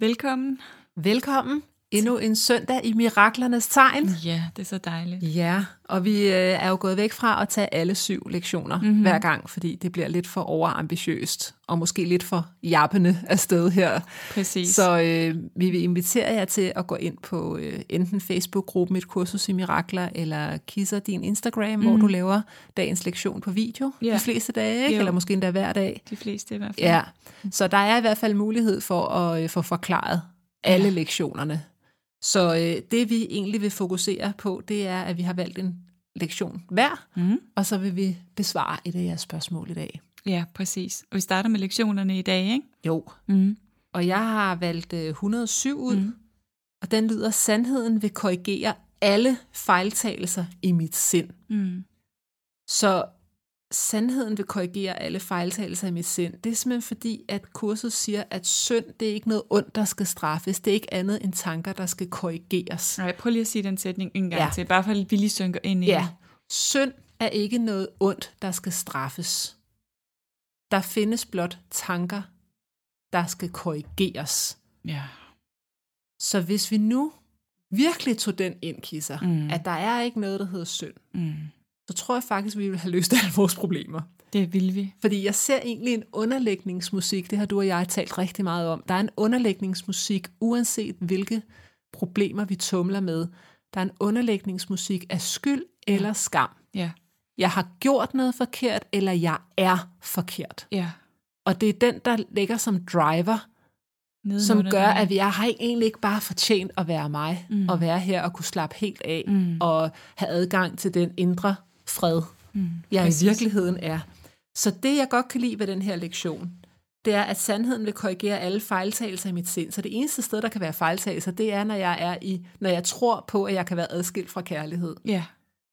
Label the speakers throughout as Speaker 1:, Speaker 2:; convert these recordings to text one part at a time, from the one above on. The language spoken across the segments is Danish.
Speaker 1: Velkommen.
Speaker 2: Velkommen. Endnu en søndag i miraklernes tegn.
Speaker 1: Ja, det er så dejligt.
Speaker 2: Ja, og vi øh, er jo gået væk fra at tage alle syv lektioner mm-hmm.
Speaker 1: Mhm.
Speaker 2: hver gang, fordi det bliver lidt for overambitiøst, og måske lidt for jappende afsted her.
Speaker 1: Præcis.
Speaker 2: Så øh, vi vil invitere jer til at gå ind på øh, enten Facebook-gruppen Et Kursus i Mirakler, eller Kisser din Instagram, mm. hvor du laver dagens lektion på video
Speaker 1: Mhm. Ja.
Speaker 2: de fleste dage, ikke?
Speaker 1: Jo.
Speaker 2: eller måske endda hver dag.
Speaker 1: De fleste i hvert fald.
Speaker 2: Ja, så der er i hvert fald mulighed for at øh, få forklaret alle lektionerne. Så øh, det vi egentlig vil fokusere på, det er, at vi har valgt en lektion hver,
Speaker 1: Mhm.
Speaker 2: og så vil vi besvare et af jeres spørgsmål i dag.
Speaker 1: ja, præcis. Og vi starter med lektionerne i dag, ikke?
Speaker 2: Jo,
Speaker 1: Mm.
Speaker 2: og jeg har valgt øh, 107 ud,
Speaker 1: Mhm.
Speaker 2: og den lyder, sandheden vil korrigere alle fejltagelser i mit sind.
Speaker 1: Mm.
Speaker 2: Så sandheden vil korrigere alle fejltagelser i mit sind. Det er simpelthen fordi, at kurset siger, at synd, det er ikke noget ondt, der skal straffes. Det er ikke andet end tanker, der skal korrigeres.
Speaker 1: Nej, prøv lige at sige den sætning en gang
Speaker 2: Ja.
Speaker 1: ja. til, bare for at vi lige synker ind i
Speaker 2: Ja,
Speaker 1: det.
Speaker 2: synd er ikke noget ondt, der skal straffes. Der findes blot tanker, der skal korrigeres.
Speaker 1: Ja.
Speaker 2: Så hvis vi nu virkelig tog den ind, Kisser,
Speaker 1: Mm.
Speaker 2: mm. at der er ikke noget, der hedder synd,
Speaker 1: Mm.
Speaker 2: så tror jeg faktisk, vi vil have løst alle vores problemer.
Speaker 1: Det vil vi.
Speaker 2: Fordi jeg ser egentlig en underlægningsmusik, det har du og jeg talt rigtig meget om. Der er en underlægningsmusik, uanset hvilke problemer vi tumler med. Der er en underlægningsmusik af skyld eller skam.
Speaker 1: Ja.
Speaker 2: Jeg har gjort noget forkert, eller jeg er forkert.
Speaker 1: Ja.
Speaker 2: Og det er den, der ligger som driver,
Speaker 1: Mm. Neden
Speaker 2: som
Speaker 1: under
Speaker 2: gør,
Speaker 1: dig.
Speaker 2: at jeg har egentlig ikke bare fortjent at være mig,
Speaker 1: Mm.
Speaker 2: og være her og kunne slappe helt af,
Speaker 1: Mm.
Speaker 2: og have adgang til den indre fred,
Speaker 1: Mm.
Speaker 2: jeg
Speaker 1: Præcis.
Speaker 2: i virkeligheden er. Så det, jeg godt kan lide ved den her lektion, det er, at sandheden vil korrigere alle fejltagelser i mit sind. Så det eneste sted, der kan være fejltagelser, det er, når jeg, er i, når jeg tror på, at jeg kan være adskilt fra kærlighed.
Speaker 1: Ja.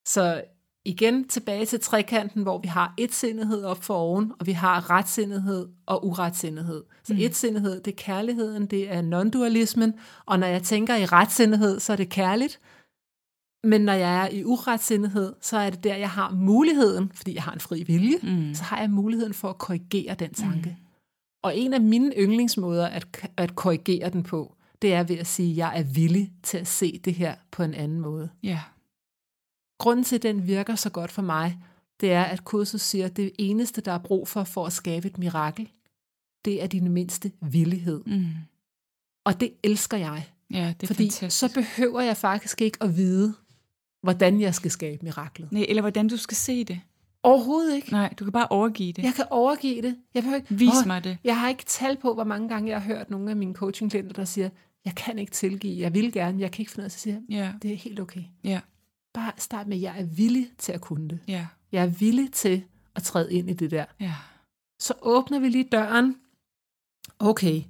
Speaker 2: Så igen tilbage til trekanten, hvor vi har etsindighed op for oven, og vi har retsindighed og uretsindighed. Så mm. etsindighed, det er kærligheden, det er non-dualismen, og når jeg tænker i retsindighed, så er det kærligt. Men når jeg er i uretsindighed, så er det der, jeg har muligheden, fordi jeg har en fri vilje,
Speaker 1: Mm.
Speaker 2: så har jeg muligheden for at korrigere den tanke. Mm. Og en af mine yndlingsmåder at, at korrigere den på, det er ved at sige, at jeg er villig til at se det her på en anden måde
Speaker 1: Ja.
Speaker 2: grunden til, at den virker så godt for mig, det er, at kurset siger, at det eneste, der er brug for for at skabe et mirakel, det er din mindste villighed.
Speaker 1: Mm.
Speaker 2: Og det elsker jeg,
Speaker 1: Ja, det er
Speaker 2: fordi
Speaker 1: fantastisk.
Speaker 2: så behøver jeg faktisk ikke at vide, hvordan jeg skal skabe miraklet.
Speaker 1: Nej, eller hvordan du skal se det.
Speaker 2: Overhovedet ikke.
Speaker 1: Nej, du kan bare overgive det.
Speaker 2: Jeg kan overgive det. Jeg behøver ikke,
Speaker 1: Vis
Speaker 2: Åh,
Speaker 1: mig det.
Speaker 2: Jeg har ikke tal på, hvor mange gange jeg har hørt nogle af mine coachingklienter, der siger, jeg kan ikke tilgive, jeg vil gerne, jeg kan ikke finde ud af, så siger jeg,
Speaker 1: Ja,
Speaker 2: det er helt okay.
Speaker 1: ja,
Speaker 2: Bare start med, jeg er villig til at kunne det.
Speaker 1: ja,
Speaker 2: Jeg er villig til at træde ind i det der.
Speaker 1: ja.
Speaker 2: så åbner vi lige døren. Okay.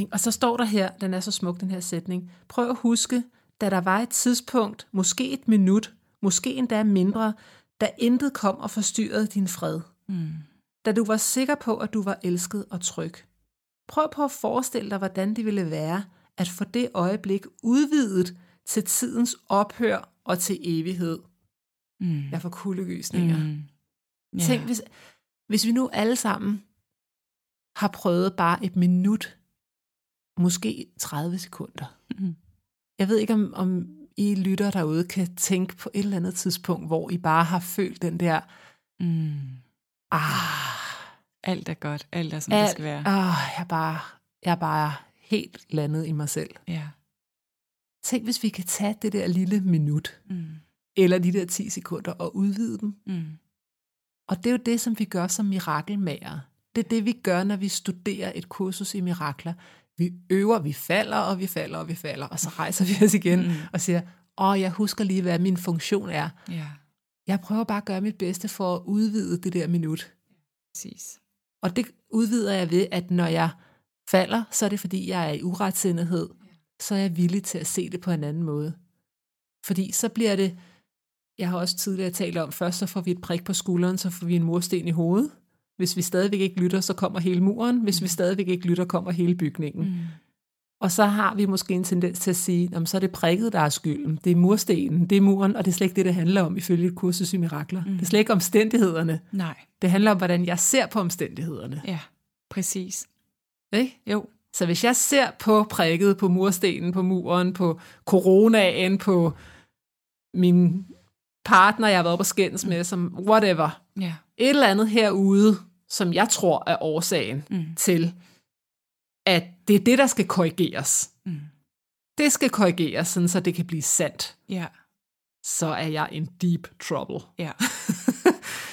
Speaker 2: Ikke? Og så står der her, den er så smuk, den her sætning. Prøv at huske, da der var et tidspunkt, måske et minut, måske endda mindre, da intet kom og forstyrrede din fred.
Speaker 1: Mm.
Speaker 2: Da du var sikker på, at du var elsket og tryg. Prøv på at forestille dig, hvordan det ville være at få det øjeblik udvidet til tidens ophør og til evighed.
Speaker 1: Mm.
Speaker 2: Jeg får kuldegysninger.
Speaker 1: Mm. Ja.
Speaker 2: Yeah. Tænk, hvis, hvis vi nu alle sammen har prøvet bare et minut, måske 30 sekunder.
Speaker 1: Mm.
Speaker 2: Jeg ved ikke, om, om I lytter derude kan tænke på et eller andet tidspunkt, hvor I bare har følt den der,
Speaker 1: Mm.
Speaker 2: ah,
Speaker 1: Alt er godt. Alt er, som det
Speaker 2: alt,
Speaker 1: skal være.
Speaker 2: ah jeg, er bare, jeg er bare helt landet i mig selv.
Speaker 1: Ja.
Speaker 2: Tænk, hvis vi kan tage det der lille minut, mm. eller de der 10 sekunder, og udvide dem. Mm. Og det er jo det, som vi gør som mirakelmager. Det er det, vi gør, når vi studerer et kursus i mirakler. Vi øver, vi falder, og vi falder, og vi falder, og så rejser vi os igen mm. og siger, åh, jeg husker lige, hvad min funktion er.
Speaker 1: Ja,
Speaker 2: Jeg prøver bare at gøre mit bedste for at udvide det der minut.
Speaker 1: præcis.
Speaker 2: Og det udvider jeg ved, at når jeg falder, så er det fordi, jeg er i uretsindighed. Så er jeg villig til at se det på en anden måde. Fordi så bliver det, jeg har også tidligere talt om, først så får vi et prik på skulderen, så får vi en mursten i hovedet. Hvis vi stadigvæk ikke lytter, så kommer hele muren. Hvis vi stadigvæk ikke lytter, kommer hele bygningen. Mm. Og så har vi måske en tendens til at sige, "Nå, men så er det prikket, der er skylden. Det er murstenen, det er muren, og det er slet ikke det, det handler om ifølge et kursus i mirakler. Mm. Det er slet ikke omstændighederne.
Speaker 1: Nej,
Speaker 2: Det handler om, hvordan jeg ser på omstændighederne.
Speaker 1: ja, præcis.
Speaker 2: Ikke?
Speaker 1: Jo,
Speaker 2: Så hvis jeg ser på prikket, på murstenen, på muren, på coronaen, på min partner, jeg har været på skændes med, som whatever,
Speaker 1: ja,
Speaker 2: et eller andet herude, som jeg tror er årsagen mm. til, at det er det, der skal korrigeres. Mm. Det skal korrigeres, sådan så det kan blive sandt.
Speaker 1: ja,
Speaker 2: Så er jeg in deep trouble.
Speaker 1: ja,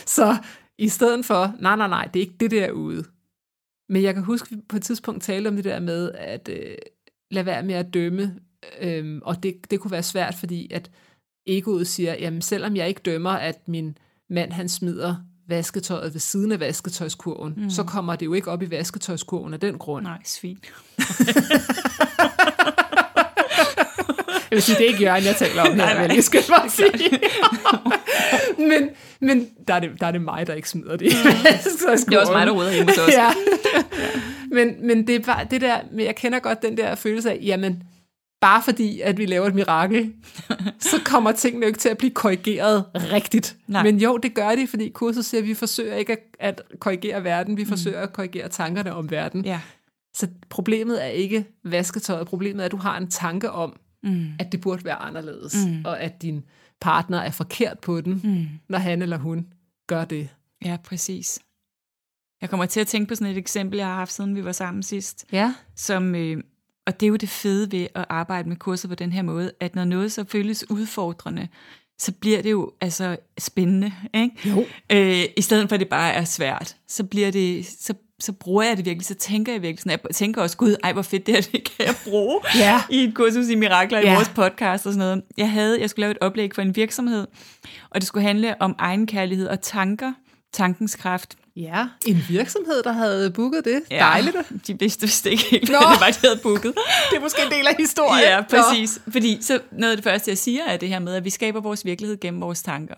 Speaker 2: Så i stedet for, nej, nej, nej, det er ikke det derude. Men jeg kan huske, vi på et tidspunkt talte om det der med, at øh, lade være med at dømme, øhm, og det, det kunne være svært, fordi at egoet siger, jamen selvom jeg ikke dømmer, at min mand han smider vasketøjet ved siden af vasketøjskurven, mm. så kommer det jo ikke op i vasketøjskurven af den grund.
Speaker 1: nej, svin.
Speaker 2: Jeg vil sige, det er ikke Jørgen, jeg taler om her, men jeg skal bare sige. men men der, er det, der er det mig, der ikke smider det. det
Speaker 1: Mm. Det er også mig, der roder hjemme hos os.
Speaker 2: ja. men, men det er bare det der, men jeg kender godt den der følelse af, jamen, bare fordi, at vi laver et mirakel, så kommer tingene jo ikke til at blive korrigeret rigtigt.
Speaker 1: Nej.
Speaker 2: Men jo, det gør de, fordi kurset siger, at vi forsøger ikke at, at korrigere verden, vi forsøger at korrigere tankerne om verden.
Speaker 1: Ja,
Speaker 2: Så problemet er ikke vasketøjet, problemet er, at du har en tanke om, mm. at det burde være anderledes, mm. og at din partner er forkert på den, mm. når han eller hun gør det.
Speaker 1: ja, præcis. Jeg kommer til at tænke på sådan et eksempel, jeg har haft, siden vi var sammen sidst.
Speaker 2: Ja.
Speaker 1: som, øh, og det er jo det fede ved at arbejde med kurser på den her måde, at når noget så føles udfordrende, så bliver det jo altså spændende, ikke?
Speaker 2: Jo.
Speaker 1: Øh, I stedet for at det bare er svært, så bliver det, så, så bruger jeg det virkelig, så tænker jeg virkelig sådan, jeg tænker også, gud, ej hvor fedt det her, det kan jeg bruge
Speaker 2: Ja.
Speaker 1: i et kursus i mirakler i
Speaker 2: Ja.
Speaker 1: vores podcast og sådan noget. Jeg havde, jeg skulle lave et oplæg for en virksomhed, og det skulle handle om egenkærlighed og tanker, tankens kraft,
Speaker 2: Ja. En virksomhed, der havde booket det. Ja. Dejligt.
Speaker 1: De vidste vist ikke helt,
Speaker 2: Nå.
Speaker 1: hvad det var, de havde booket.
Speaker 2: Det er måske en del af historien.
Speaker 1: Ja, præcis. Fordi så noget af det første, jeg siger, er det her med, at vi skaber vores virkelighed gennem vores tanker.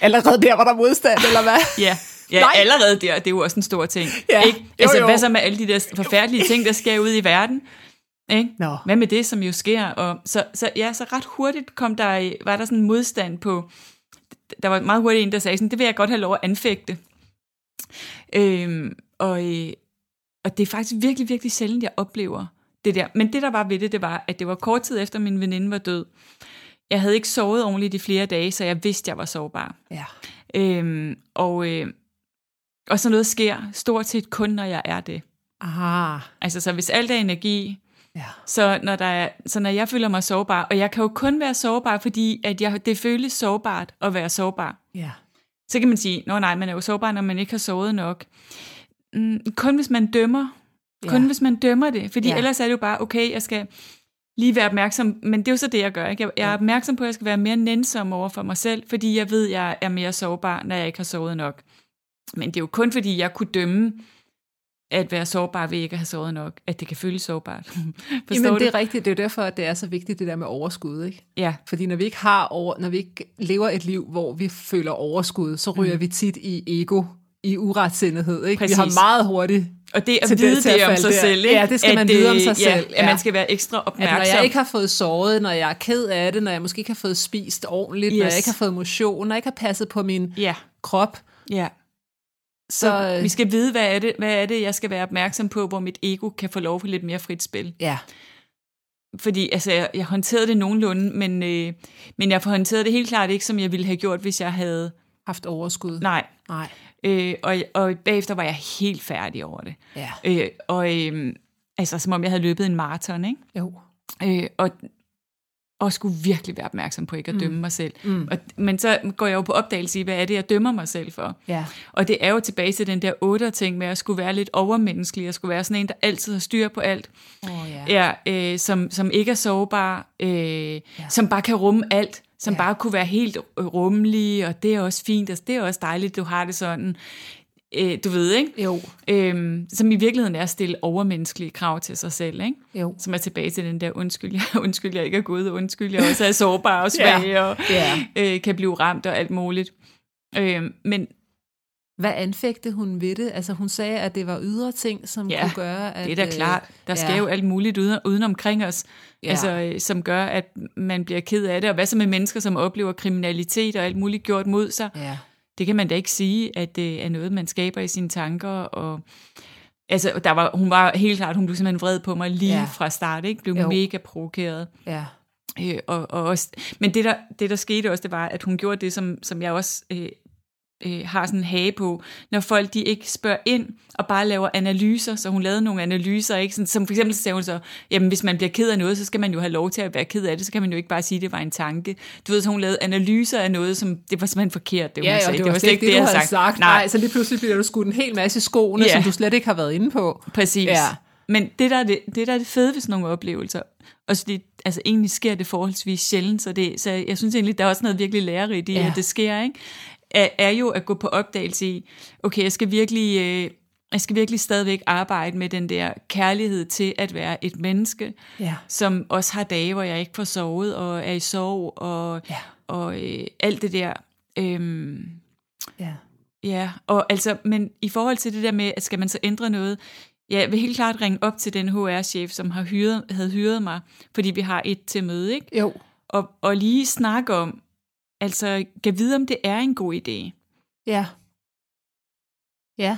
Speaker 2: Allerede der var der modstand, eller hvad?
Speaker 1: Ja, ja
Speaker 2: Nej.
Speaker 1: allerede der, det er jo også en stor ting.
Speaker 2: Ja,
Speaker 1: Ikke?
Speaker 2: jo,
Speaker 1: Altså,
Speaker 2: jo.
Speaker 1: hvad så med alle de der forfærdelige ting, der sker ude i verden? Ikke?
Speaker 2: Nå.
Speaker 1: Hvad med det, som jo sker? Og så, så, ja, så ret hurtigt kom der, var der sådan en modstand på... Der var meget hurtigt en, der sagde sådan, det vil jeg godt have lov at anfægte. Øhm, og, øh, og det er faktisk virkelig, virkelig sjældent, jeg oplever det der. Men det, der var ved det, det var, at det var kort tid efter, min veninde var død. Jeg havde ikke sovet ordentligt i flere dage, så jeg vidste, jeg var sårbar.
Speaker 2: Ja.
Speaker 1: Øhm, og, øh, og sådan noget sker stort set kun, når jeg er det.
Speaker 2: Ah.
Speaker 1: Altså, så hvis alt er energi,
Speaker 2: Ja.
Speaker 1: så når, der er, så når jeg føler mig sårbar, og jeg kan jo kun være sårbar, fordi at jeg, det føles sårbart at være sårbar.
Speaker 2: Ja.
Speaker 1: Så kan man sige, nå nej, man er jo sårbar, når man ikke har sovet nok. Mm, kun hvis man dømmer. Kun
Speaker 2: Ja.
Speaker 1: hvis man dømmer det. Fordi
Speaker 2: Ja.
Speaker 1: ja. ellers er det jo bare, okay, jeg skal lige være opmærksom. Men det er jo så det, jeg gør. Ikke? Jeg, jeg er opmærksom på, at jeg skal være mere nænsom over for mig selv, fordi jeg ved, jeg er mere sårbar, når jeg ikke har sovet nok. Men det er jo kun fordi, jeg kunne dømme at være sårbar ved ikke at have sovet nok, at det kan føles sårbart. Forstår
Speaker 2: Jamen, det
Speaker 1: du?
Speaker 2: er rigtigt. Det er jo derfor, at det er så vigtigt, det der med overskud, ikke?
Speaker 1: Ja,
Speaker 2: Fordi når vi ikke har over, når vi ikke lever et liv, hvor vi føler overskud, så ryger mm. vi tit i ego, i uretsindighed. Ikke? Vi
Speaker 1: Præcis.
Speaker 2: har meget hurtigt,
Speaker 1: og det at
Speaker 2: Tendens
Speaker 1: vide
Speaker 2: til at
Speaker 1: det om
Speaker 2: falde
Speaker 1: sig
Speaker 2: der.
Speaker 1: selv, ikke?
Speaker 2: Ja, det skal
Speaker 1: at,
Speaker 2: man vide om
Speaker 1: øh,
Speaker 2: sig
Speaker 1: ja,
Speaker 2: selv.
Speaker 1: At
Speaker 2: Ja.
Speaker 1: man skal være ekstra
Speaker 2: at
Speaker 1: opmærksom.
Speaker 2: når jeg ikke har fået sovet, når jeg er ked af det, når jeg måske ikke har fået spist ordentligt, yes. når
Speaker 1: Yes.
Speaker 2: jeg ikke har fået motion, når jeg ikke har passet på min
Speaker 1: Ja,
Speaker 2: krop,
Speaker 1: ja.
Speaker 2: så... øh,
Speaker 1: Vi skal vide, hvad er, det, hvad er det, jeg skal være opmærksom på, hvor mit ego kan få lov for lidt mere frit spil.
Speaker 2: Ja,
Speaker 1: Fordi altså, jeg, jeg håndterede det nogenlunde, men, øh, men jeg håndterede det helt klart ikke, som jeg ville have gjort, hvis jeg havde...
Speaker 2: haft overskud.
Speaker 1: Nej.
Speaker 2: Nej.
Speaker 1: Øh, og, og bagefter var jeg helt færdig over det.
Speaker 2: Ja.
Speaker 1: Øh, og øh, altså, som om jeg havde løbet en maraton, ikke?
Speaker 2: Jo.
Speaker 1: Øh, og og skulle virkelig være opmærksom på ikke at dømme mm. mig selv. Mm. Og, men så går jeg jo på opdagelse i, hvad er det, jeg dømmer mig selv for?
Speaker 2: Ja.
Speaker 1: Og det er jo tilbage til den der otter ting med at skulle være lidt overmenneskelig, og skulle være sådan en, der altid har styr på alt,
Speaker 2: Oh, ja.
Speaker 1: ja, øh, som, som ikke er sårbar, øh, ja. som bare kan rumme alt, som
Speaker 2: Ja.
Speaker 1: ja. bare kunne være helt øh, rummelig, og det er også fint, og det er også dejligt, du har det sådan. Øh, du ved, ikke?
Speaker 2: Jo,
Speaker 1: Øhm, som i virkeligheden er at stille overmenneskelige krav til sig selv, ikke?
Speaker 2: jo.
Speaker 1: som er tilbage til den der undskyld, jeg, undskyld, jeg ikke er god, og undskyld, jeg også er sårbar og svag, og
Speaker 2: Ja.
Speaker 1: øh, kan blive ramt og alt muligt. Øh, men
Speaker 2: Hvad anfægte hun ved det? Altså hun sagde, at det var ydre ting, som
Speaker 1: Ja,
Speaker 2: kunne gøre, at...
Speaker 1: det er da
Speaker 2: øh,
Speaker 1: klart, der sker
Speaker 2: ja.
Speaker 1: jo alt muligt uden, uden omkring os,
Speaker 2: Ja.
Speaker 1: ja. altså, øh, som gør, at man bliver ked af det, og hvad så med mennesker, som oplever kriminalitet og alt muligt gjort mod sig?
Speaker 2: Ja.
Speaker 1: Det kan man da ikke sige, at det er noget, man skaber i sine tanker, og altså, der var, hun var helt klart, hun blev simpelthen vred på mig lige
Speaker 2: Ja.
Speaker 1: ja. fra start, ikke? blev
Speaker 2: Jo.
Speaker 1: jo. mega provokeret.
Speaker 2: Ja.
Speaker 1: Øh, og, og også, men det der, det, der skete også, det var, at hun gjorde det, som, som jeg også øh, øh, har sådan en hage på, når folk de ikke spørger ind og bare laver analyser, så hun lavede nogle analyser, ikke? Sådan, som for eksempel så sagde hun så, jamen hvis man bliver ked af noget, så skal man jo have lov til at være ked af det, så kan man jo ikke bare sige, at det var en tanke. Du ved, så hun lavede analyser af noget, som det var simpelthen forkert, det hun
Speaker 2: Ja,
Speaker 1: sagde.
Speaker 2: og altså, det var slet ikke det, du
Speaker 1: jeg
Speaker 2: havde sagt.
Speaker 1: Nej,
Speaker 2: Nej, så lige pludselig bliver du skudt en hel masse i skoene,
Speaker 1: Ja.
Speaker 2: som du slet ikke har været inde på.
Speaker 1: Præcis.
Speaker 2: Ja.
Speaker 1: Ja. Men det der, er det, det, der er det fede ved sådan nogle oplevelser, og så det, altså egentlig sker det forholdsvis sjældent, så, det, så jeg synes egentlig, der er også noget virkelig lærerigt i,
Speaker 2: Ja.
Speaker 1: ja. at det sker, ikke? Er, er jo at gå på opdagelse i, okay, jeg skal virkelig... Øh, jeg skal virkelig stadigvæk arbejde med den der kærlighed til at være et menneske,
Speaker 2: Ja.
Speaker 1: som også har dage, hvor jeg ikke får sovet og er i sorg og,
Speaker 2: Ja.
Speaker 1: og øh, alt det der. Øhm,
Speaker 2: Ja.
Speaker 1: Ja, og altså, men i forhold til det der med, at skal man så ændre noget, ja, jeg vil helt klart ringe op til den HR-chef, som har hyret, havde hyret mig, fordi vi har et til møde, ikke?
Speaker 2: Jo.
Speaker 1: Og, og lige snakke om, altså, kan vide, om det er en god idé.
Speaker 2: Ja. Ja.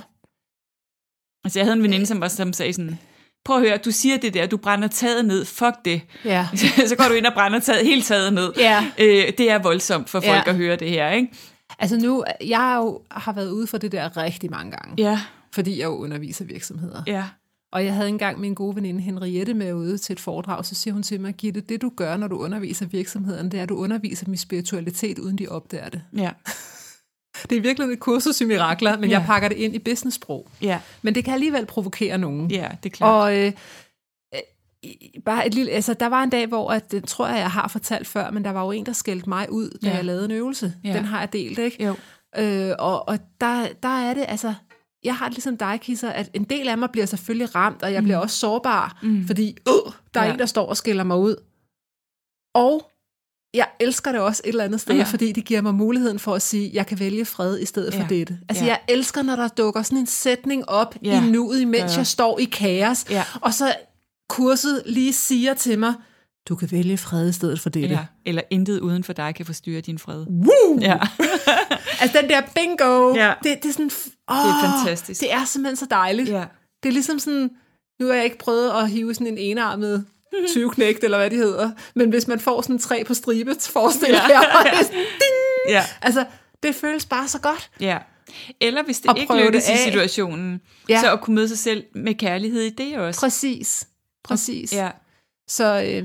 Speaker 1: Altså, jeg havde en veninde, som, var, som sagde sådan, prøv at høre, du siger det der, du brænder taget ned, fuck det.
Speaker 2: Ja.
Speaker 1: så går du ind og brænder taget, helt taget ned.
Speaker 2: Ja.
Speaker 1: Øh, det er voldsomt for folk
Speaker 2: Ja.
Speaker 1: ja. at høre det her, ikke?
Speaker 2: Altså nu, jeg har jo har været ude for det der rigtig mange gange,
Speaker 1: Ja,
Speaker 2: fordi jeg jo underviser virksomheder.
Speaker 1: ja,
Speaker 2: Og jeg havde engang min gode veninde Henriette med ude til et foredrag, så siger hun til mig, Gitte, det du gør, når du underviser virksomheden, det er, at du underviser dem i spiritualitet, uden de opdager det.
Speaker 1: ja,
Speaker 2: Det er virkelig et kursus i mirakler, men ja.
Speaker 1: Ja.
Speaker 2: jeg pakker det ind i businesssprog.
Speaker 1: ja,
Speaker 2: Men det kan alligevel provokere nogen.
Speaker 1: ja, det er klart.
Speaker 2: Og øh, øh, i- bare et lille, altså, der var en dag, hvor at, det tror jeg, jeg har fortalt før, men der var jo en, der skældte mig ud, da ja.
Speaker 1: Ja.
Speaker 2: jeg lavede en øvelse. Ja.
Speaker 1: Ja.
Speaker 2: Den har jeg delt, ikke?
Speaker 1: jo,
Speaker 2: Øh, og og der, der er det, altså, jeg har det ligesom dig, Kisser, at en del af mig bliver selvfølgelig ramt, og jeg mm. bliver også sårbar, mm. fordi øh, der er ja.
Speaker 1: Ja.
Speaker 2: en, der står og skiller mig ud. Og jeg elsker det også et eller andet sted, ja.
Speaker 1: Ja.
Speaker 2: fordi det giver mig muligheden for at sige, jeg kan vælge fred i stedet ja.
Speaker 1: Ja.
Speaker 2: for dette. Altså, ja.
Speaker 1: Ja.
Speaker 2: jeg elsker, når der dukker sådan en sætning op ja.
Speaker 1: Ja.
Speaker 2: i nuet, imens
Speaker 1: Ja.
Speaker 2: jeg står i kaos,
Speaker 1: Ja.
Speaker 2: og så kurset lige siger til mig, du kan vælge fred i stedet for dette.
Speaker 1: eller, eller intet uden for dig kan forstyrre din fred.
Speaker 2: Woo!
Speaker 1: Ja.
Speaker 2: Altså den der bingo,
Speaker 1: Ja.
Speaker 2: det, det er sådan... f- Åh,
Speaker 1: er fantastisk.
Speaker 2: Det er simpelthen så dejligt.
Speaker 1: ja.
Speaker 2: Det er ligesom sådan... Nu har jeg ikke prøvet at hive sådan en enarmet
Speaker 1: Mhm.
Speaker 2: 20 knægt, eller hvad de hedder. Men hvis man får sådan tre på stribe, forestiller
Speaker 1: Ja.
Speaker 2: ja. jeg mig. det er sådan, ding!
Speaker 1: Ja.
Speaker 2: Altså, det føles bare så godt.
Speaker 1: ja. Eller hvis
Speaker 2: Og
Speaker 1: det ikke
Speaker 2: prøve
Speaker 1: lykkes
Speaker 2: det
Speaker 1: i
Speaker 2: af.
Speaker 1: situationen,
Speaker 2: Ja.
Speaker 1: ja. så at kunne møde sig selv med kærlighed i det også.
Speaker 2: Præcis. Præcis.
Speaker 1: Ja.
Speaker 2: Så øh, øh,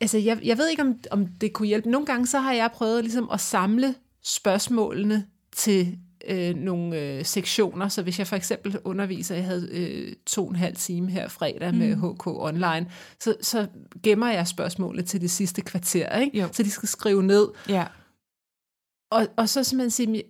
Speaker 2: altså, jeg, jeg ved ikke, om, om det kunne hjælpe. Nogle gange så har jeg prøvet ligesom at samle spørgsmålene til øh, nogle øh, sektioner. Så hvis jeg for eksempel underviser, jeg havde øh, to og en halv time her fredag med HK Online, så, så gemmer jeg spørgsmålene til det sidste kvarter, ikke?
Speaker 1: Jo.
Speaker 2: så de skal skrive ned.
Speaker 1: ja.
Speaker 2: Og, og så simpelthen sige, "Men, øh,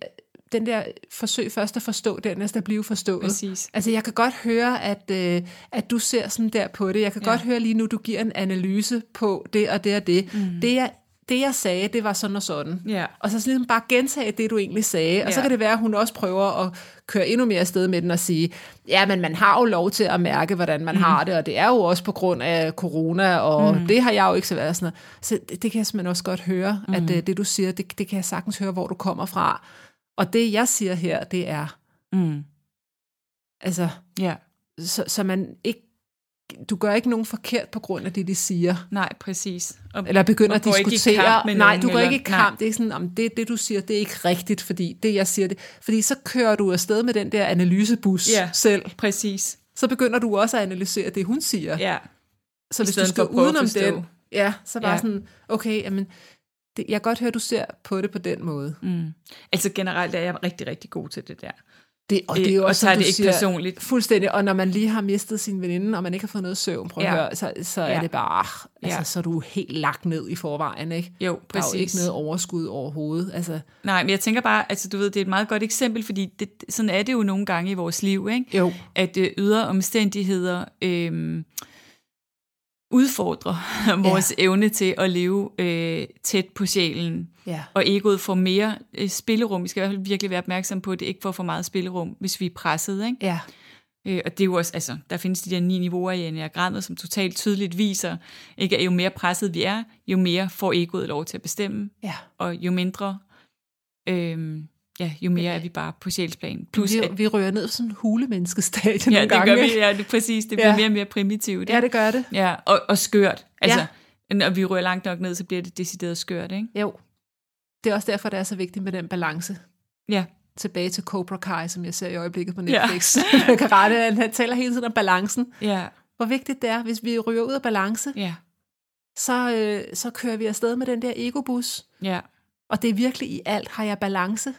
Speaker 2: den der forsøg først at forstå, dernæst at blive forstået.
Speaker 1: Præcis.
Speaker 2: Altså, jeg kan godt høre, at, øh, at du ser sådan der på det. Jeg kan ja.
Speaker 1: Ja.
Speaker 2: godt høre lige nu, du giver en analyse på det og det og det. Mm. Det, jeg, det, jeg sagde, det var sådan og sådan.
Speaker 1: Ja.
Speaker 2: Og så sådan ligesom bare gentage det, du egentlig sagde. Og så
Speaker 1: Ja.
Speaker 2: kan det være, at hun også prøver at køre endnu mere afsted med den og sige, ja, men man har jo lov til at mærke, hvordan man mm. har det, og det er jo også på grund af corona, og mm. det har jeg jo ikke så været sådan noget. Så det, det kan jeg simpelthen også godt høre, mm. at øh, det, du siger, det, det kan jeg sagtens høre, hvor du kommer fra. Og det, jeg siger her, det er,
Speaker 1: Mm.
Speaker 2: altså,
Speaker 1: Ja.
Speaker 2: så, så man ikke du gør ikke nogen forkert på grund af det, de siger.
Speaker 1: Nej, præcis. Og,
Speaker 2: Eller begynder
Speaker 1: Og
Speaker 2: at
Speaker 1: går ikke i
Speaker 2: diskutere.
Speaker 1: kamp med
Speaker 2: nej,
Speaker 1: nogen,
Speaker 2: du går
Speaker 1: eller-
Speaker 2: ikke i
Speaker 1: nej.
Speaker 2: kamp. Det er ikke sådan, om det, det, du siger, det er ikke rigtigt, fordi det, jeg siger, det. Fordi så kører du afsted med den der analysebus
Speaker 1: Ja.
Speaker 2: selv.
Speaker 1: Præcis.
Speaker 2: Så begynder du også at analysere det, hun siger.
Speaker 1: Ja.
Speaker 2: så
Speaker 1: i
Speaker 2: hvis du
Speaker 1: stedet
Speaker 2: skal
Speaker 1: for at prøve at
Speaker 2: udenom
Speaker 1: forstå.
Speaker 2: den, Ja, så bare
Speaker 1: Ja.
Speaker 2: ja. sådan, okay, jamen, det, jeg kan godt høre, du ser på det på den måde.
Speaker 1: Mm. Altså generelt er jeg rigtig, rigtig god til det der.
Speaker 2: Det, og
Speaker 1: Øh, og
Speaker 2: som
Speaker 1: tager
Speaker 2: du
Speaker 1: det ikke personligt.
Speaker 2: Fuldstændig, og når man lige har mistet sin veninde, og man ikke har fået noget søvn, prøv at
Speaker 1: Ja.
Speaker 2: ja. høre, så, så
Speaker 1: Ja.
Speaker 2: er det bare, ah, altså,
Speaker 1: Ja.
Speaker 2: ja. så er du helt lagt ned i forvejen, ikke?
Speaker 1: Jo,
Speaker 2: Der er jo
Speaker 1: præcis.
Speaker 2: ikke noget overskud overhovedet. Altså,
Speaker 1: Nej, men jeg tænker bare, altså du ved, det er et meget godt eksempel, fordi det, sådan er det jo nogle gange i vores liv, ikke?
Speaker 2: jo,
Speaker 1: at øh, ydre omstændigheder øh, udfordrer vores ja. evne til at leve øh, tæt på sjælen.
Speaker 2: ja.
Speaker 1: Og egoet får mere øh, spillerum. Vi skal i hvert fald virkelig være opmærksom på, at det ikke får for meget spillerum, hvis vi er presset. Ikke?
Speaker 2: Ja,
Speaker 1: Øh, og det er jo også, altså, der findes de der ni niveauer i enagrammet, som totalt tydeligt viser, ikke, at jo mere presset vi er, jo mere får egoet lov til at bestemme,
Speaker 2: ja.
Speaker 1: og jo mindre, øh, ja, jo mere er vi bare på sjælsplan. Plus,
Speaker 2: Vi,
Speaker 1: at,
Speaker 2: vi rører ned på sådan en hulemenneskestadie
Speaker 1: ja,
Speaker 2: nogle
Speaker 1: det
Speaker 2: gange.
Speaker 1: gør vi,
Speaker 2: ikke?
Speaker 1: ja, det, præcis, det bliver
Speaker 2: Ja.
Speaker 1: mere og mere primitivt.
Speaker 2: ja, det gør det.
Speaker 1: Ja, og, og skørt. Altså,
Speaker 2: Ja.
Speaker 1: ja. når vi rører langt nok ned, så bliver det decideret skørt, ikke?
Speaker 2: Jo. Det er også derfor, det er så vigtigt med den balance.
Speaker 1: Ja,
Speaker 2: Tilbage til Cobra Kai, som jeg ser i øjeblikket på
Speaker 1: Ja.
Speaker 2: Netflix. Ja. Karate, han, han taler hele tiden om balancen.
Speaker 1: ja,
Speaker 2: Hvor vigtigt det er, hvis vi ryger ud af balance,
Speaker 1: ja,
Speaker 2: så, øh, så kører vi afsted med den der egobus.
Speaker 1: ja.
Speaker 2: Og det er virkelig i alt, har jeg balance?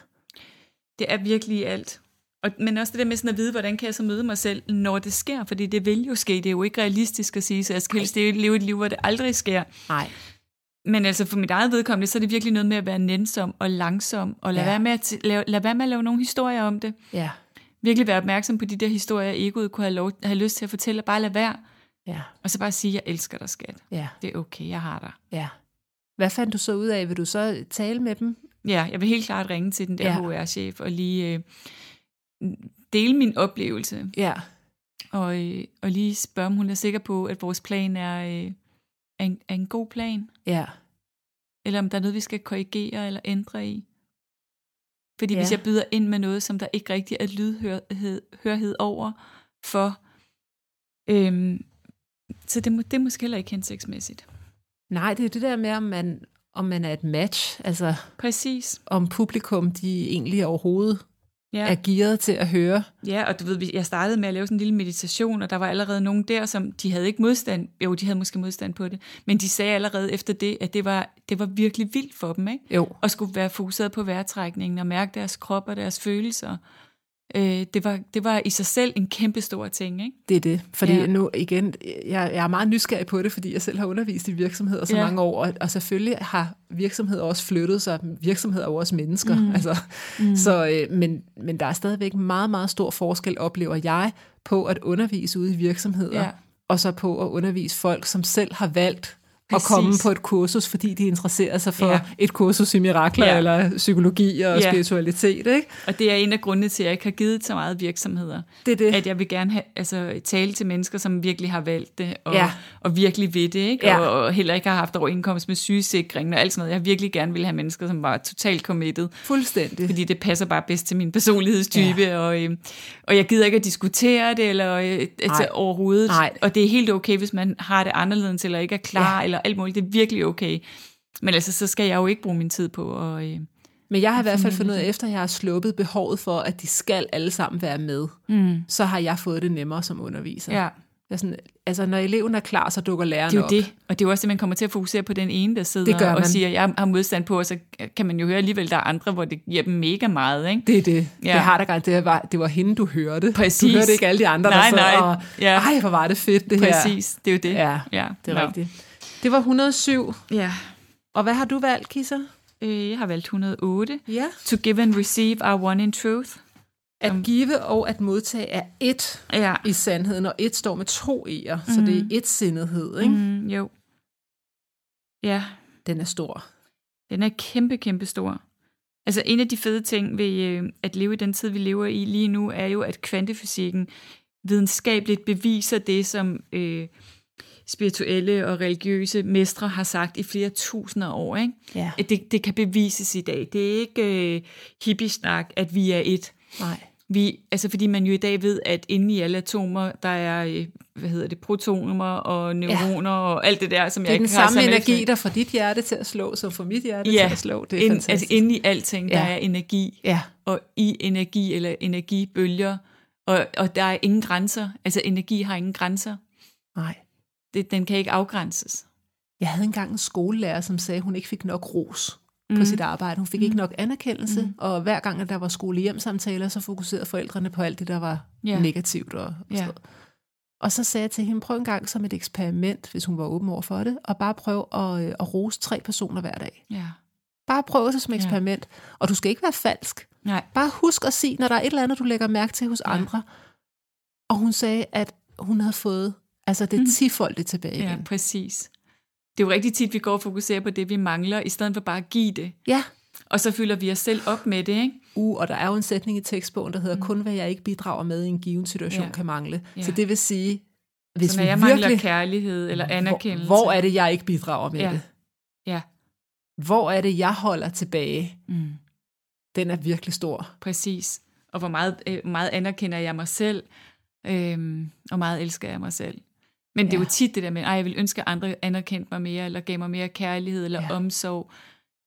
Speaker 1: Det er virkelig alt. Og, men også det der med sådan at vide, hvordan kan jeg så møde mig selv, når det sker? Fordi det vil jo ske. Det er jo ikke realistisk at sige, så jeg skal helst leve et liv, hvor det aldrig sker.
Speaker 2: Nej.
Speaker 1: Men altså for mit eget vedkommende, så er det virkelig noget med at være nænsom og langsom, og lad, ja.
Speaker 2: Ja.
Speaker 1: være, med at t- lave, lad være med at lave nogle historier om det.
Speaker 2: Ja,
Speaker 1: Virkelig være opmærksom på de der historier, egoet kunne have, lov, have lyst til at fortælle, og bare lade være.
Speaker 2: ja,
Speaker 1: Og så bare sige, jeg elsker dig, skat.
Speaker 2: ja,
Speaker 1: Det er okay, jeg har dig.
Speaker 2: ja. Hvad fandt du så ud af? Vil du så tale med dem?
Speaker 1: Ja, jeg vil helt klart ringe til den der ja.
Speaker 2: Ja.
Speaker 1: HR-chef og lige øh, dele min oplevelse,
Speaker 2: Ja.
Speaker 1: og, øh, og lige spørge, om hun er sikker på, at vores plan er, øh, er, en, er en god plan,
Speaker 2: Ja.
Speaker 1: eller om der er noget, vi skal korrigere eller ændre i. Fordi ja.
Speaker 2: Ja.
Speaker 1: hvis jeg byder ind med noget, som der ikke rigtig er lydhørhed over for, øhm, så det, må, det er måske heller ikke hensigtsmæssigt.
Speaker 2: Nej, det er det der med, om man, om man er et match. Altså,
Speaker 1: Præcis.
Speaker 2: om publikum, de egentlig overhovedet
Speaker 1: Ja.
Speaker 2: er gearet til at høre.
Speaker 1: Ja, og du ved, vi- jeg startede med at lave sådan en lille meditation, og der var allerede nogen der, som de havde ikke modstand. Jo, de havde måske modstand på det, men de sagde allerede efter det, at det var, det var virkelig vildt for dem, ikke?
Speaker 2: Jo.
Speaker 1: Og skulle være fokuseret på vejrtrækningen og mærke deres krop og deres følelser. Øh, det, var, det var i sig selv en kæmpe stor ting, ikke?
Speaker 2: Det er det. Fordi
Speaker 1: Ja.
Speaker 2: ja. nu igen, jeg, jeg er meget nysgerrig på det, fordi jeg selv har undervist i virksomheder så
Speaker 1: Ja.
Speaker 2: ja. mange år, og, og selvfølgelig har virksomheder også flyttet sig. Virksomheder er jo også mennesker. Mm. Altså, mm. Så, øh, men, men der er stadigvæk meget, meget stor forskel, oplever jeg, på at undervise ude i virksomheder,
Speaker 1: Ja.
Speaker 2: ja. og så på at undervise folk, som selv har valgt
Speaker 1: Præcis.
Speaker 2: at komme på et kursus, fordi de interesserer sig for
Speaker 1: Ja.
Speaker 2: ja. et kursus i mirakler,
Speaker 1: Ja.
Speaker 2: ja. eller psykologi og
Speaker 1: Ja.
Speaker 2: ja. spiritualitet. Ikke?
Speaker 1: Og det er en af grundene til, at jeg ikke har givet så meget virksomheder.
Speaker 2: Det er det.
Speaker 1: At jeg vil gerne have, altså, tale til mennesker, som virkelig har valgt det, og,
Speaker 2: Ja.
Speaker 1: og virkelig ved det, ikke?
Speaker 2: Ja.
Speaker 1: Og, og heller ikke har haft overindkomst med sygesikringen og alt sådan noget. Jeg virkelig gerne vil have mennesker, som var totalt committed,
Speaker 2: Fuldstændig.
Speaker 1: fordi det passer bare bedst til min personlighedstype, ja. og, øh, og jeg gider ikke at diskutere det eller øh, altså,
Speaker 2: Nej.
Speaker 1: overhovedet.
Speaker 2: Nej.
Speaker 1: Og det er helt okay, hvis man har det anderledes, eller ikke er klar, ja. eller alt muligt. Det er virkelig okay. Men altså, så skal jeg jo ikke bruge min tid på at... Øh,
Speaker 2: Men jeg har i hvert fald fundet ud af, efter jeg har sluppet behovet for, at de skal alle sammen være med, mm. så har jeg fået det nemmere som underviser.
Speaker 1: ja.
Speaker 2: Jeg er sådan, altså, når eleven er klar, så dukker læreren
Speaker 1: Det er jo
Speaker 2: op.
Speaker 1: det, og det er jo også det, man kommer til at fokusere på den ene, der sidder
Speaker 2: Det gør
Speaker 1: og
Speaker 2: man.
Speaker 1: siger, jeg har modstand på, og så kan man jo høre alligevel, der er andre, hvor det giver dem mega meget, ikke?
Speaker 2: Det er det.
Speaker 1: Ja.
Speaker 2: Ja. Det har der garanteret. Det var, det var hende, du hørte.
Speaker 1: Præcis.
Speaker 2: Du hørte ikke alle de andre,
Speaker 1: Nej,
Speaker 2: der sad
Speaker 1: nej.
Speaker 2: og...
Speaker 1: Ja.
Speaker 2: Ej, hvor var det fedt, det her.
Speaker 1: Præcis, det er jo det.
Speaker 2: Ja,
Speaker 1: ja.
Speaker 2: det er
Speaker 1: Nå.
Speaker 2: rigtigt. Det var 107.
Speaker 1: Ja.
Speaker 2: Og hvad har du valgt, Kisser?
Speaker 1: Øh, jeg har valgt 108.
Speaker 2: Ja.
Speaker 1: To give and receive are one in truth.
Speaker 2: At give og at modtage er ét
Speaker 1: Ja,
Speaker 2: i sandheden, og ét står med to e'er, mm. så det er ét-sindhed, ikke? Mm.
Speaker 1: mm, jo. Ja,
Speaker 2: Den er stor.
Speaker 1: Den er kæmpe, kæmpe stor. Altså en af de fede ting ved øh, at leve i den tid, vi lever i lige nu, er jo, at kvantefysikken videnskabeligt beviser det, som øh, spirituelle og religiøse mestre har sagt i flere tusinder år. Ikke?
Speaker 2: Ja.
Speaker 1: At det, det kan bevises i dag. Det er ikke øh, hippiesnak, at vi er et.
Speaker 2: Nej.
Speaker 1: Vi, altså fordi man jo i dag ved, at inde i alle atomer, der er, øh, hvad hedder det, protoner og neuroner ja. og alt det der, som
Speaker 2: Det
Speaker 1: jeg
Speaker 2: er
Speaker 1: ikke
Speaker 2: den
Speaker 1: har
Speaker 2: samme
Speaker 1: samme
Speaker 2: energi, der får dit hjerte til at slå, som får mit hjerte til at slå. Det er
Speaker 1: ind,
Speaker 2: fantastisk.
Speaker 1: altså inde i alting, der
Speaker 2: Ja.
Speaker 1: er energi,
Speaker 2: ja,
Speaker 1: og i energi eller energibølger, og, og der er ingen grænser. Altså energi har ingen grænser.
Speaker 2: nej.
Speaker 1: Det, den kan ikke afgrænses.
Speaker 2: Jeg havde engang en skolelærer, som sagde, at hun ikke fik nok ros mm. på sit arbejde. Hun fik mm. ikke nok anerkendelse, mm. og hver gang, at der var skolehjemsamtaler, så fokuserede forældrene på alt det, der var
Speaker 1: Ja.
Speaker 2: yeah. negativt. Og, og,
Speaker 1: Ja.
Speaker 2: yeah. og så sagde jeg til hende, prøv en gang som et eksperiment, hvis hun var åben over for det, og bare prøv at, øh, at rose tre personer hver dag.
Speaker 1: Ja.
Speaker 2: Bare prøv det som
Speaker 1: Ja.
Speaker 2: eksperiment. Og du skal ikke være falsk.
Speaker 1: Nej.
Speaker 2: Bare husk at sige, når der er et eller andet, du lægger mærke til hos
Speaker 1: Ja.
Speaker 2: andre. Og hun sagde, at hun havde fået altså det
Speaker 1: Mm.
Speaker 2: tifoldige tilbage igen.
Speaker 1: Ja, præcis. Det er jo rigtig tit, vi går og fokuserer på det, vi mangler, i stedet for bare at give det.
Speaker 2: Ja.
Speaker 1: Og så fylder vi os selv op med det, ikke?
Speaker 2: Uh, og der er jo en sætning i tekstbogen, der hedder, kun hvad jeg ikke bidrager med i en given situation
Speaker 1: Mhm. Ja.
Speaker 2: kan mangle.
Speaker 1: Ja.
Speaker 2: Så det vil sige, hvis
Speaker 1: så
Speaker 2: vi
Speaker 1: når jeg mangler
Speaker 2: virkelig...
Speaker 1: kærlighed eller anerkendelse.
Speaker 2: Hvor, hvor er det, jeg ikke bidrager med
Speaker 1: Ja.
Speaker 2: det?
Speaker 1: Ja,
Speaker 2: Hvor er det, jeg holder tilbage?
Speaker 1: mm.
Speaker 2: Den er virkelig stor.
Speaker 1: præcis. Og hvor meget, øh, meget anerkender jeg mig selv, øhm, og meget elsker jeg mig selv. Men det er jo
Speaker 2: Ja.
Speaker 1: tit det der med, at jeg vil ønske, at andre anerkendte mig mere, eller gav mig mere kærlighed eller
Speaker 2: Ja.
Speaker 1: ja. omsorg,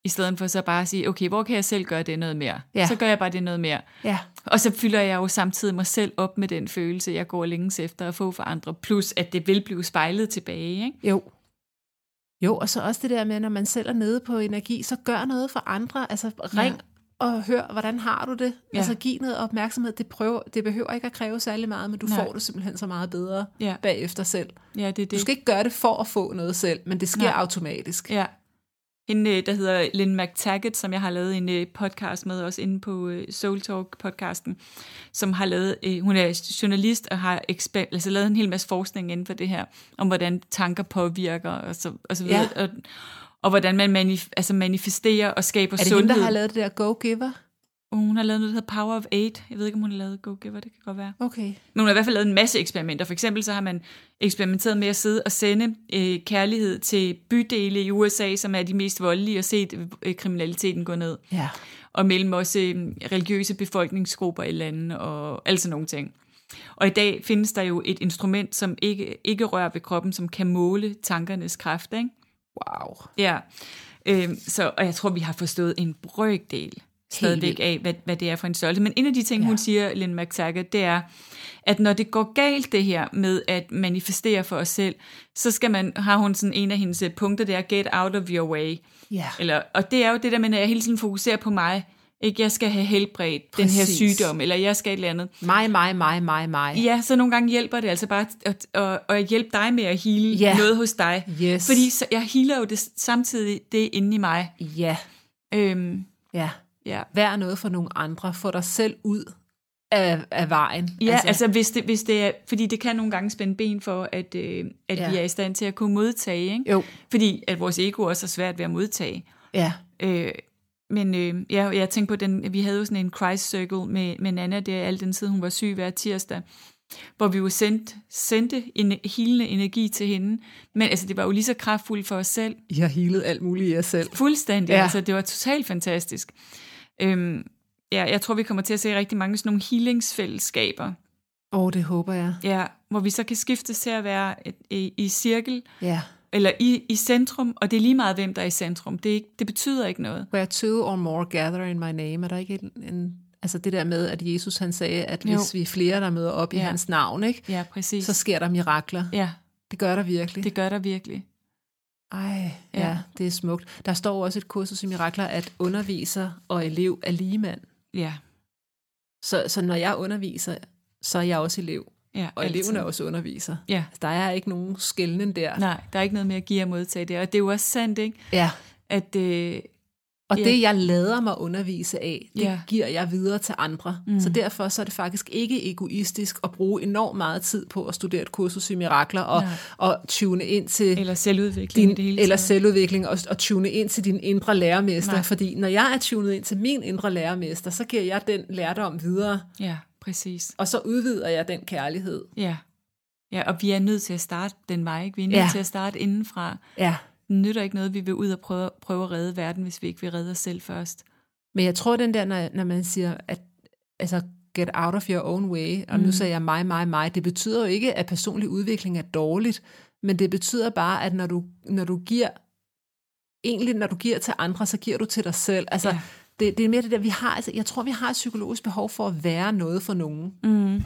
Speaker 1: i stedet for så bare at sige, okay, hvor kan jeg selv gøre det noget mere?
Speaker 2: Ja.
Speaker 1: Så gør jeg bare det noget mere.
Speaker 2: Ja.
Speaker 1: Og så fylder jeg jo samtidig mig selv op med den følelse, jeg går længes efter at få for andre, plus at det vil blive spejlet tilbage. Ikke?
Speaker 2: Jo. Jo, og så også det der med, når man selv er nede på energi, så gør noget for andre. Altså ring ja. og hør, hvordan har du det? Ja.
Speaker 1: Ja.
Speaker 2: Altså giv noget opmærksomhed. Det, prøver, det behøver ikke at kræve særlig meget, men du
Speaker 1: Nej.
Speaker 2: får det simpelthen så meget bedre
Speaker 1: Ja,
Speaker 2: bagefter selv.
Speaker 1: ja det er det.
Speaker 2: Du skal ikke gøre det for at få noget selv, men det sker
Speaker 1: Nej.
Speaker 2: automatisk.
Speaker 1: Ja. Hende, øh, der hedder Lynn McTaggart, som jeg har lavet en øh, podcast med, også inde på øh, Soul Talk-podcasten, som har lavet, øh, hun er journalist og har eksper- altså, lavet en hel masse forskning inden for det her, om hvordan tanker påvirker og så, og så videre, ja. og, og hvordan man manif- altså manifesterer og skaber
Speaker 2: Er det
Speaker 1: sundhed.
Speaker 2: hende, der har lavet det der go-giver?
Speaker 1: Og hun har lavet noget, der hedder Power of Eight. Jeg ved ikke, om hun har lavet Go Giver, det kan godt være.
Speaker 2: Okay.
Speaker 1: Men hun har i hvert fald lavet en masse eksperimenter. For eksempel så har man eksperimenteret med at sidde og sende øh, kærlighed til bydele i USA, som er de mest voldelige, og set øh, kriminaliteten gå ned.
Speaker 2: Ja.
Speaker 1: Og mellem også øh, religiøse befolkningsgrupper i lande og alt sådan nogle ting. Og i dag findes der jo et instrument, som ikke, ikke rører ved kroppen, som kan måle tankernes kraft. Ikke?
Speaker 2: Wow.
Speaker 1: Ja, øhm, så, og jeg tror, vi har forstået en brøkdel stadigvæk
Speaker 2: vildt.
Speaker 1: af, hvad, hvad det er for en størrelse. Men en af de ting, ja.
Speaker 2: Ja.
Speaker 1: hun siger, Lynn McTaggart, det er, at når det går galt det her med at manifestere for os selv, så skal man, har hun sådan en af hendes øh, punkter, det er get out of your way.
Speaker 2: Ja.
Speaker 1: Eller, og det er jo det der med, at jeg hele tiden fokuserer på mig. Ikke, jeg skal have helbredt
Speaker 2: Præcis.
Speaker 1: den her sygdom, eller jeg skal et eller andet.
Speaker 2: Mig, mig, mig, mig, mig.
Speaker 1: Ja, så nogle gange hjælper det altså bare at, at, at hjælpe dig med at hele
Speaker 2: Ja.
Speaker 1: noget hos dig.
Speaker 2: Yes.
Speaker 1: Fordi så, jeg healer jo det, samtidig det inde i mig.
Speaker 2: Ja.
Speaker 1: Øhm,
Speaker 2: Ja.
Speaker 1: ja,
Speaker 2: Vær noget for nogle andre. Få dig selv ud af, af vejen.
Speaker 1: ja altså, altså hvis, det, hvis det er, fordi det kan nogle gange spænde ben for, at, øh, at
Speaker 2: Ja.
Speaker 1: ja. vi er i stand til at kunne modtage, ikke?
Speaker 2: Jo.
Speaker 1: fordi at vores ego også er svært ved at modtage.
Speaker 2: Ja.
Speaker 1: Øh, men øh, ja, jeg tænkte på, den, vi havde jo sådan en Christ Circle med, med Nana der, al den tid hun var syg hver tirsdag, hvor vi jo sendte, sendte en helende energi til hende, men altså det var jo lige så kraftfuldt for os selv,
Speaker 2: I har healet alt muligt i jer selv.
Speaker 1: Fuldstændig,
Speaker 2: Ja.
Speaker 1: ja. altså det var totalt fantastisk. Øhm, ja, jeg tror, vi kommer til at se rigtig mange sådan nogle healingsfællesskaber,
Speaker 2: Åh, oh, det håber jeg.
Speaker 1: ja, hvor vi så kan skiftes til at være et, i, i cirkel,
Speaker 2: Ja.
Speaker 1: eller i, i centrum, og det er lige meget, hvem der er i centrum. Det, er ikke, det betyder ikke noget.
Speaker 2: Where two or more gather in my name, er der ikke en, en altså det der med, at Jesus han sagde, at hvis
Speaker 1: Jo.
Speaker 2: vi er flere, der møder op ja. i
Speaker 1: Ja.
Speaker 2: hans navn, ikke,
Speaker 1: Ja, præcis.
Speaker 2: så
Speaker 1: Så,
Speaker 2: sker der mirakler.
Speaker 1: ja,
Speaker 2: Det gør der virkelig.
Speaker 1: det gør der virkelig.
Speaker 2: Ej, ja,
Speaker 1: Ja.
Speaker 2: det er smukt. Der står jo også et kursus i mirakler, at underviser og elev er ligemand.
Speaker 1: Ja,
Speaker 2: Så, så når jeg underviser, så er jeg også elev,
Speaker 1: ja.
Speaker 2: og
Speaker 1: altid.
Speaker 2: eleven er også underviser.
Speaker 1: Ja,
Speaker 2: Altså, Der er ikke nogen skælden der.
Speaker 1: nej, der er ikke noget med at give og modtage det, og det er jo også sandt, ikke?
Speaker 2: Ja.
Speaker 1: At, øh,
Speaker 2: Og
Speaker 1: Ja.
Speaker 2: det, jeg lader mig undervise af, det
Speaker 1: Ja.
Speaker 2: giver jeg videre til andre. Mm. Så derfor så er det faktisk ikke egoistisk at bruge enormt meget tid på at studere et kursus i mirakler og,
Speaker 1: Nej.
Speaker 2: og tune ind til
Speaker 1: eller selvudvikling i det
Speaker 2: din,
Speaker 1: hele
Speaker 2: eller
Speaker 1: taget.
Speaker 2: selvudvikling og, og tune ind til din indre lærermester.
Speaker 1: Nej.
Speaker 2: Fordi når jeg er tunet ind til min indre lærermester, så giver jeg den lærdom videre,
Speaker 1: Ja, præcis.
Speaker 2: og så udvider jeg den kærlighed.
Speaker 1: Ja. ja, og vi er nødt til at starte den vej. Ikke? Vi er nødt
Speaker 2: Ja.
Speaker 1: ja. til at starte indenfra.
Speaker 2: Ja.
Speaker 1: Det nytter ikke noget, vi vil ud og prøve, prøve at redde verden, hvis vi ikke vil redde os selv først.
Speaker 2: Men jeg tror, den der, når, når man siger, at altså, get out of your own way, og mm. nu sagde jeg mig, mig, mig, det betyder jo ikke, at personlig udvikling er dårligt, men det betyder bare, at når du, når du giver, egentlig når du giver til andre, så giver du til dig selv. Altså, ja.
Speaker 1: Ja.
Speaker 2: det, det er mere det der, vi har, altså, jeg tror, vi har et psykologisk behov for at være noget for nogen.
Speaker 1: Mm.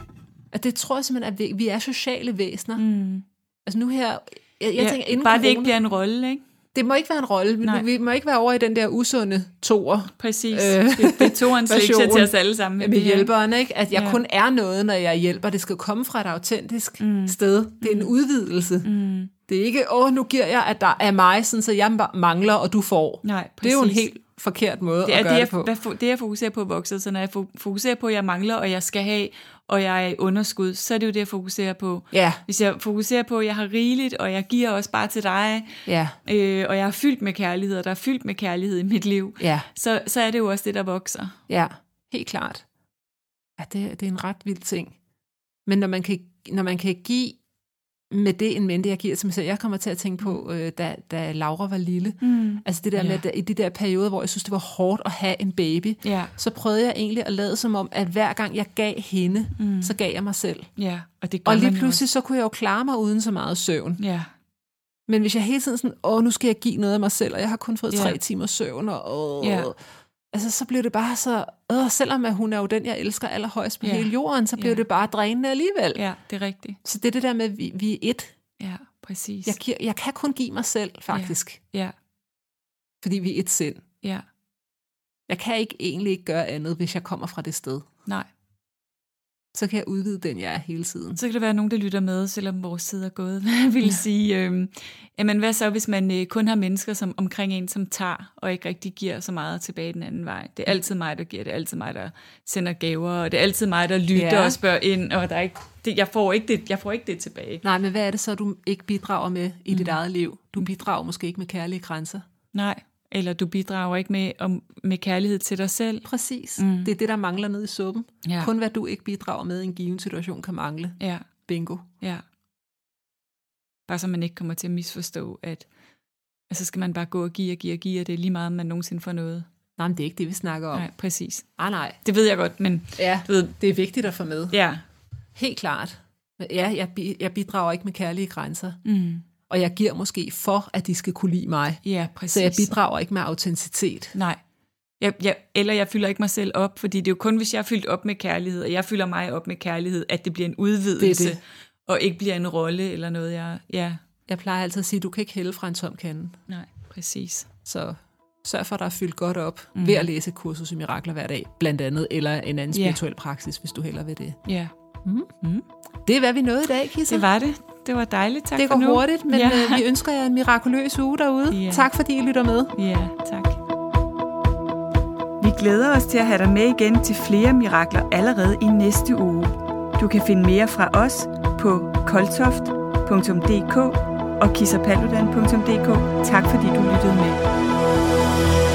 Speaker 2: At det tror jeg simpelthen, at vi, vi er sociale væsener. Mm.
Speaker 1: Mm.
Speaker 2: Altså nu her Jeg, jeg ja, tænker, inden
Speaker 1: bare
Speaker 2: corona,
Speaker 1: det ikke bliver en rolle, ikke?
Speaker 2: det må ikke være en rolle.
Speaker 1: Nej.
Speaker 2: Vi, vi må ikke være over i den der usunde toer
Speaker 1: Præcis.
Speaker 2: Øh,
Speaker 1: Det, det tog en lektie
Speaker 2: version
Speaker 1: til os alle sammen.
Speaker 2: med,
Speaker 1: med
Speaker 2: med
Speaker 1: det her.
Speaker 2: hjælperen, ikke? At jeg
Speaker 1: Ja.
Speaker 2: ja. kun er noget, når jeg hjælper. Det skal komme fra et autentisk mm. sted. Det er en udvidelse. Mm. Det er ikke, åh, nu giver jeg, at der er mig, sådan, så jeg ma- mangler, og du får.
Speaker 1: Nej,
Speaker 2: det er jo en
Speaker 1: præcis.
Speaker 2: helt forkert måde
Speaker 1: det
Speaker 2: at
Speaker 1: er
Speaker 2: gøre
Speaker 1: det,
Speaker 2: det,
Speaker 1: jeg,
Speaker 2: på.
Speaker 1: hvad, fo- det, jeg fokuserer på vokser. Så når jeg fo- fokuserer på, at jeg mangler, og jeg skal have, og jeg er i underskud, så er det jo det, jeg fokuserer på.
Speaker 2: Ja.
Speaker 1: Hvis jeg fokuserer på, at jeg har rigeligt, og jeg giver også bare til dig,
Speaker 2: Ja.
Speaker 1: øh, og jeg er fyldt med kærlighed, og der er fyldt med kærlighed i mit liv,
Speaker 2: Ja.
Speaker 1: så, så er det jo også det, der vokser.
Speaker 2: Ja, helt klart. Ja, det, det er en ret vild ting. Men når man kan, når man kan give med det en mente, jeg giver til mig selv, jeg kommer til at tænke på, øh, da, da Laura var lille,
Speaker 1: Mm.
Speaker 2: altså det der
Speaker 1: Ja.
Speaker 2: ja. med, at der- i de der perioder, hvor jeg synes, det var hårdt at have en baby,
Speaker 1: Ja,
Speaker 2: så prøvede jeg egentlig at lade som om, at hver gang jeg gav hende, mm. så gav jeg mig selv.
Speaker 1: ja, og det gør
Speaker 2: Og
Speaker 1: man
Speaker 2: lige
Speaker 1: jo
Speaker 2: pludselig, så kunne jeg jo klare mig uden så meget søvn.
Speaker 1: også. Ja,
Speaker 2: Men hvis jeg hele tiden sådan, åh, nu skal jeg give noget af mig selv, og jeg har kun fået
Speaker 1: Ja.
Speaker 2: tre timer søvn, og åh,
Speaker 1: Ja.
Speaker 2: altså, så blev det bare så, åh, selvom at hun er jo den, jeg elsker allerhøjst på
Speaker 1: Ja.
Speaker 2: hele jorden, så blev
Speaker 1: Ja.
Speaker 2: det bare drænende alligevel.
Speaker 1: ja, det er rigtigt.
Speaker 2: Så det er det der med, at vi, vi er et.
Speaker 1: Ja, præcis.
Speaker 2: Jeg, giver, jeg kan kun give mig selv, faktisk,
Speaker 1: Ja,
Speaker 2: fordi vi er et sind.
Speaker 1: ja,
Speaker 2: Jeg kan ikke egentlig ikke gøre andet, hvis jeg kommer fra det sted.
Speaker 1: nej.
Speaker 2: Så kan jeg udvide den, jeg er hele tiden.
Speaker 1: Så kan der være nogen, der lytter med, selvom vores side er gået. Hvad vil ja. sige, øh, jamen hvad så, hvis man øh, kun har mennesker som, omkring en, som tager, og ikke rigtig giver så meget tilbage den anden vej? Det er altid mig, der giver, det er altid mig, der sender gaver, og det er altid mig, der lytter ja.
Speaker 2: Ja.
Speaker 1: og spørger ind, og der er ikke, det, jeg, får ikke det, jeg får ikke det tilbage.
Speaker 2: Nej, men hvad er det så, du ikke bidrager med i mm. dit eget liv? Du bidrager måske ikke med kærlige grænser.
Speaker 1: Nej, eller du bidrager ikke med, om, med kærlighed til dig selv.
Speaker 2: Præcis. Mm. Det er det, der mangler nede i suppen.
Speaker 1: Ja.
Speaker 2: Kun hvad du ikke bidrager med i en given situation kan mangle.
Speaker 1: Ja,
Speaker 2: Bingo.
Speaker 1: ja. Bare så man ikke kommer til at misforstå, at at så skal man bare gå og give og give og give, og det er lige meget, om man nogensinde får noget.
Speaker 2: Nej, men det er ikke det, vi snakker om. Nej,
Speaker 1: Nej, præcis.
Speaker 2: ah, nej.
Speaker 1: Det ved jeg godt, men
Speaker 2: Ja,
Speaker 1: du ved,
Speaker 2: det er vigtigt at få med.
Speaker 1: ja.
Speaker 2: Helt klart. Men Ja, jeg, bi- jeg bidrager ikke med kærlige grænser.
Speaker 1: Mm.
Speaker 2: Og jeg giver måske for, at de skal kunne lide mig.
Speaker 1: Ja, præcis.
Speaker 2: Så jeg bidrager ikke med autenticitet.
Speaker 1: Nej. Jeg, jeg, eller jeg fylder ikke mig selv op, fordi det er jo kun, hvis jeg er fyldt op med kærlighed, og jeg fylder mig op med kærlighed, at det bliver en udvidelse,
Speaker 2: Det er det.
Speaker 1: og ikke bliver en rolle eller noget, jeg... Ja,
Speaker 2: Jeg plejer altid at sige, du kan ikke hælde fra en tom kande.
Speaker 1: nej, præcis.
Speaker 2: Så sørg for, at der er fyldt godt op mm. ved at læse et kursus i mirakler hver dag, blandt andet, eller en anden
Speaker 1: Mhm. Ja.
Speaker 2: spirituel praksis, hvis du heller vil det.
Speaker 1: Ja,
Speaker 2: Det er, hvad vi nåede i dag, Kissa.
Speaker 1: det var det. Det var dejligt. Tak
Speaker 2: det
Speaker 1: for
Speaker 2: går
Speaker 1: nu.
Speaker 2: hurtigt, men
Speaker 1: ja.
Speaker 2: ja. øh, vi ønsker jer en mirakuløs uge derude.
Speaker 1: Ja.
Speaker 2: Yeah. Tak fordi I lytter med.
Speaker 1: Ja, tak. Vi glæder os til at have dig med igen til flere mirakler allerede i næste uge. Du kan finde mere fra os på koltoft.dk og kissapalludan.dk. Tak fordi du lyttede med.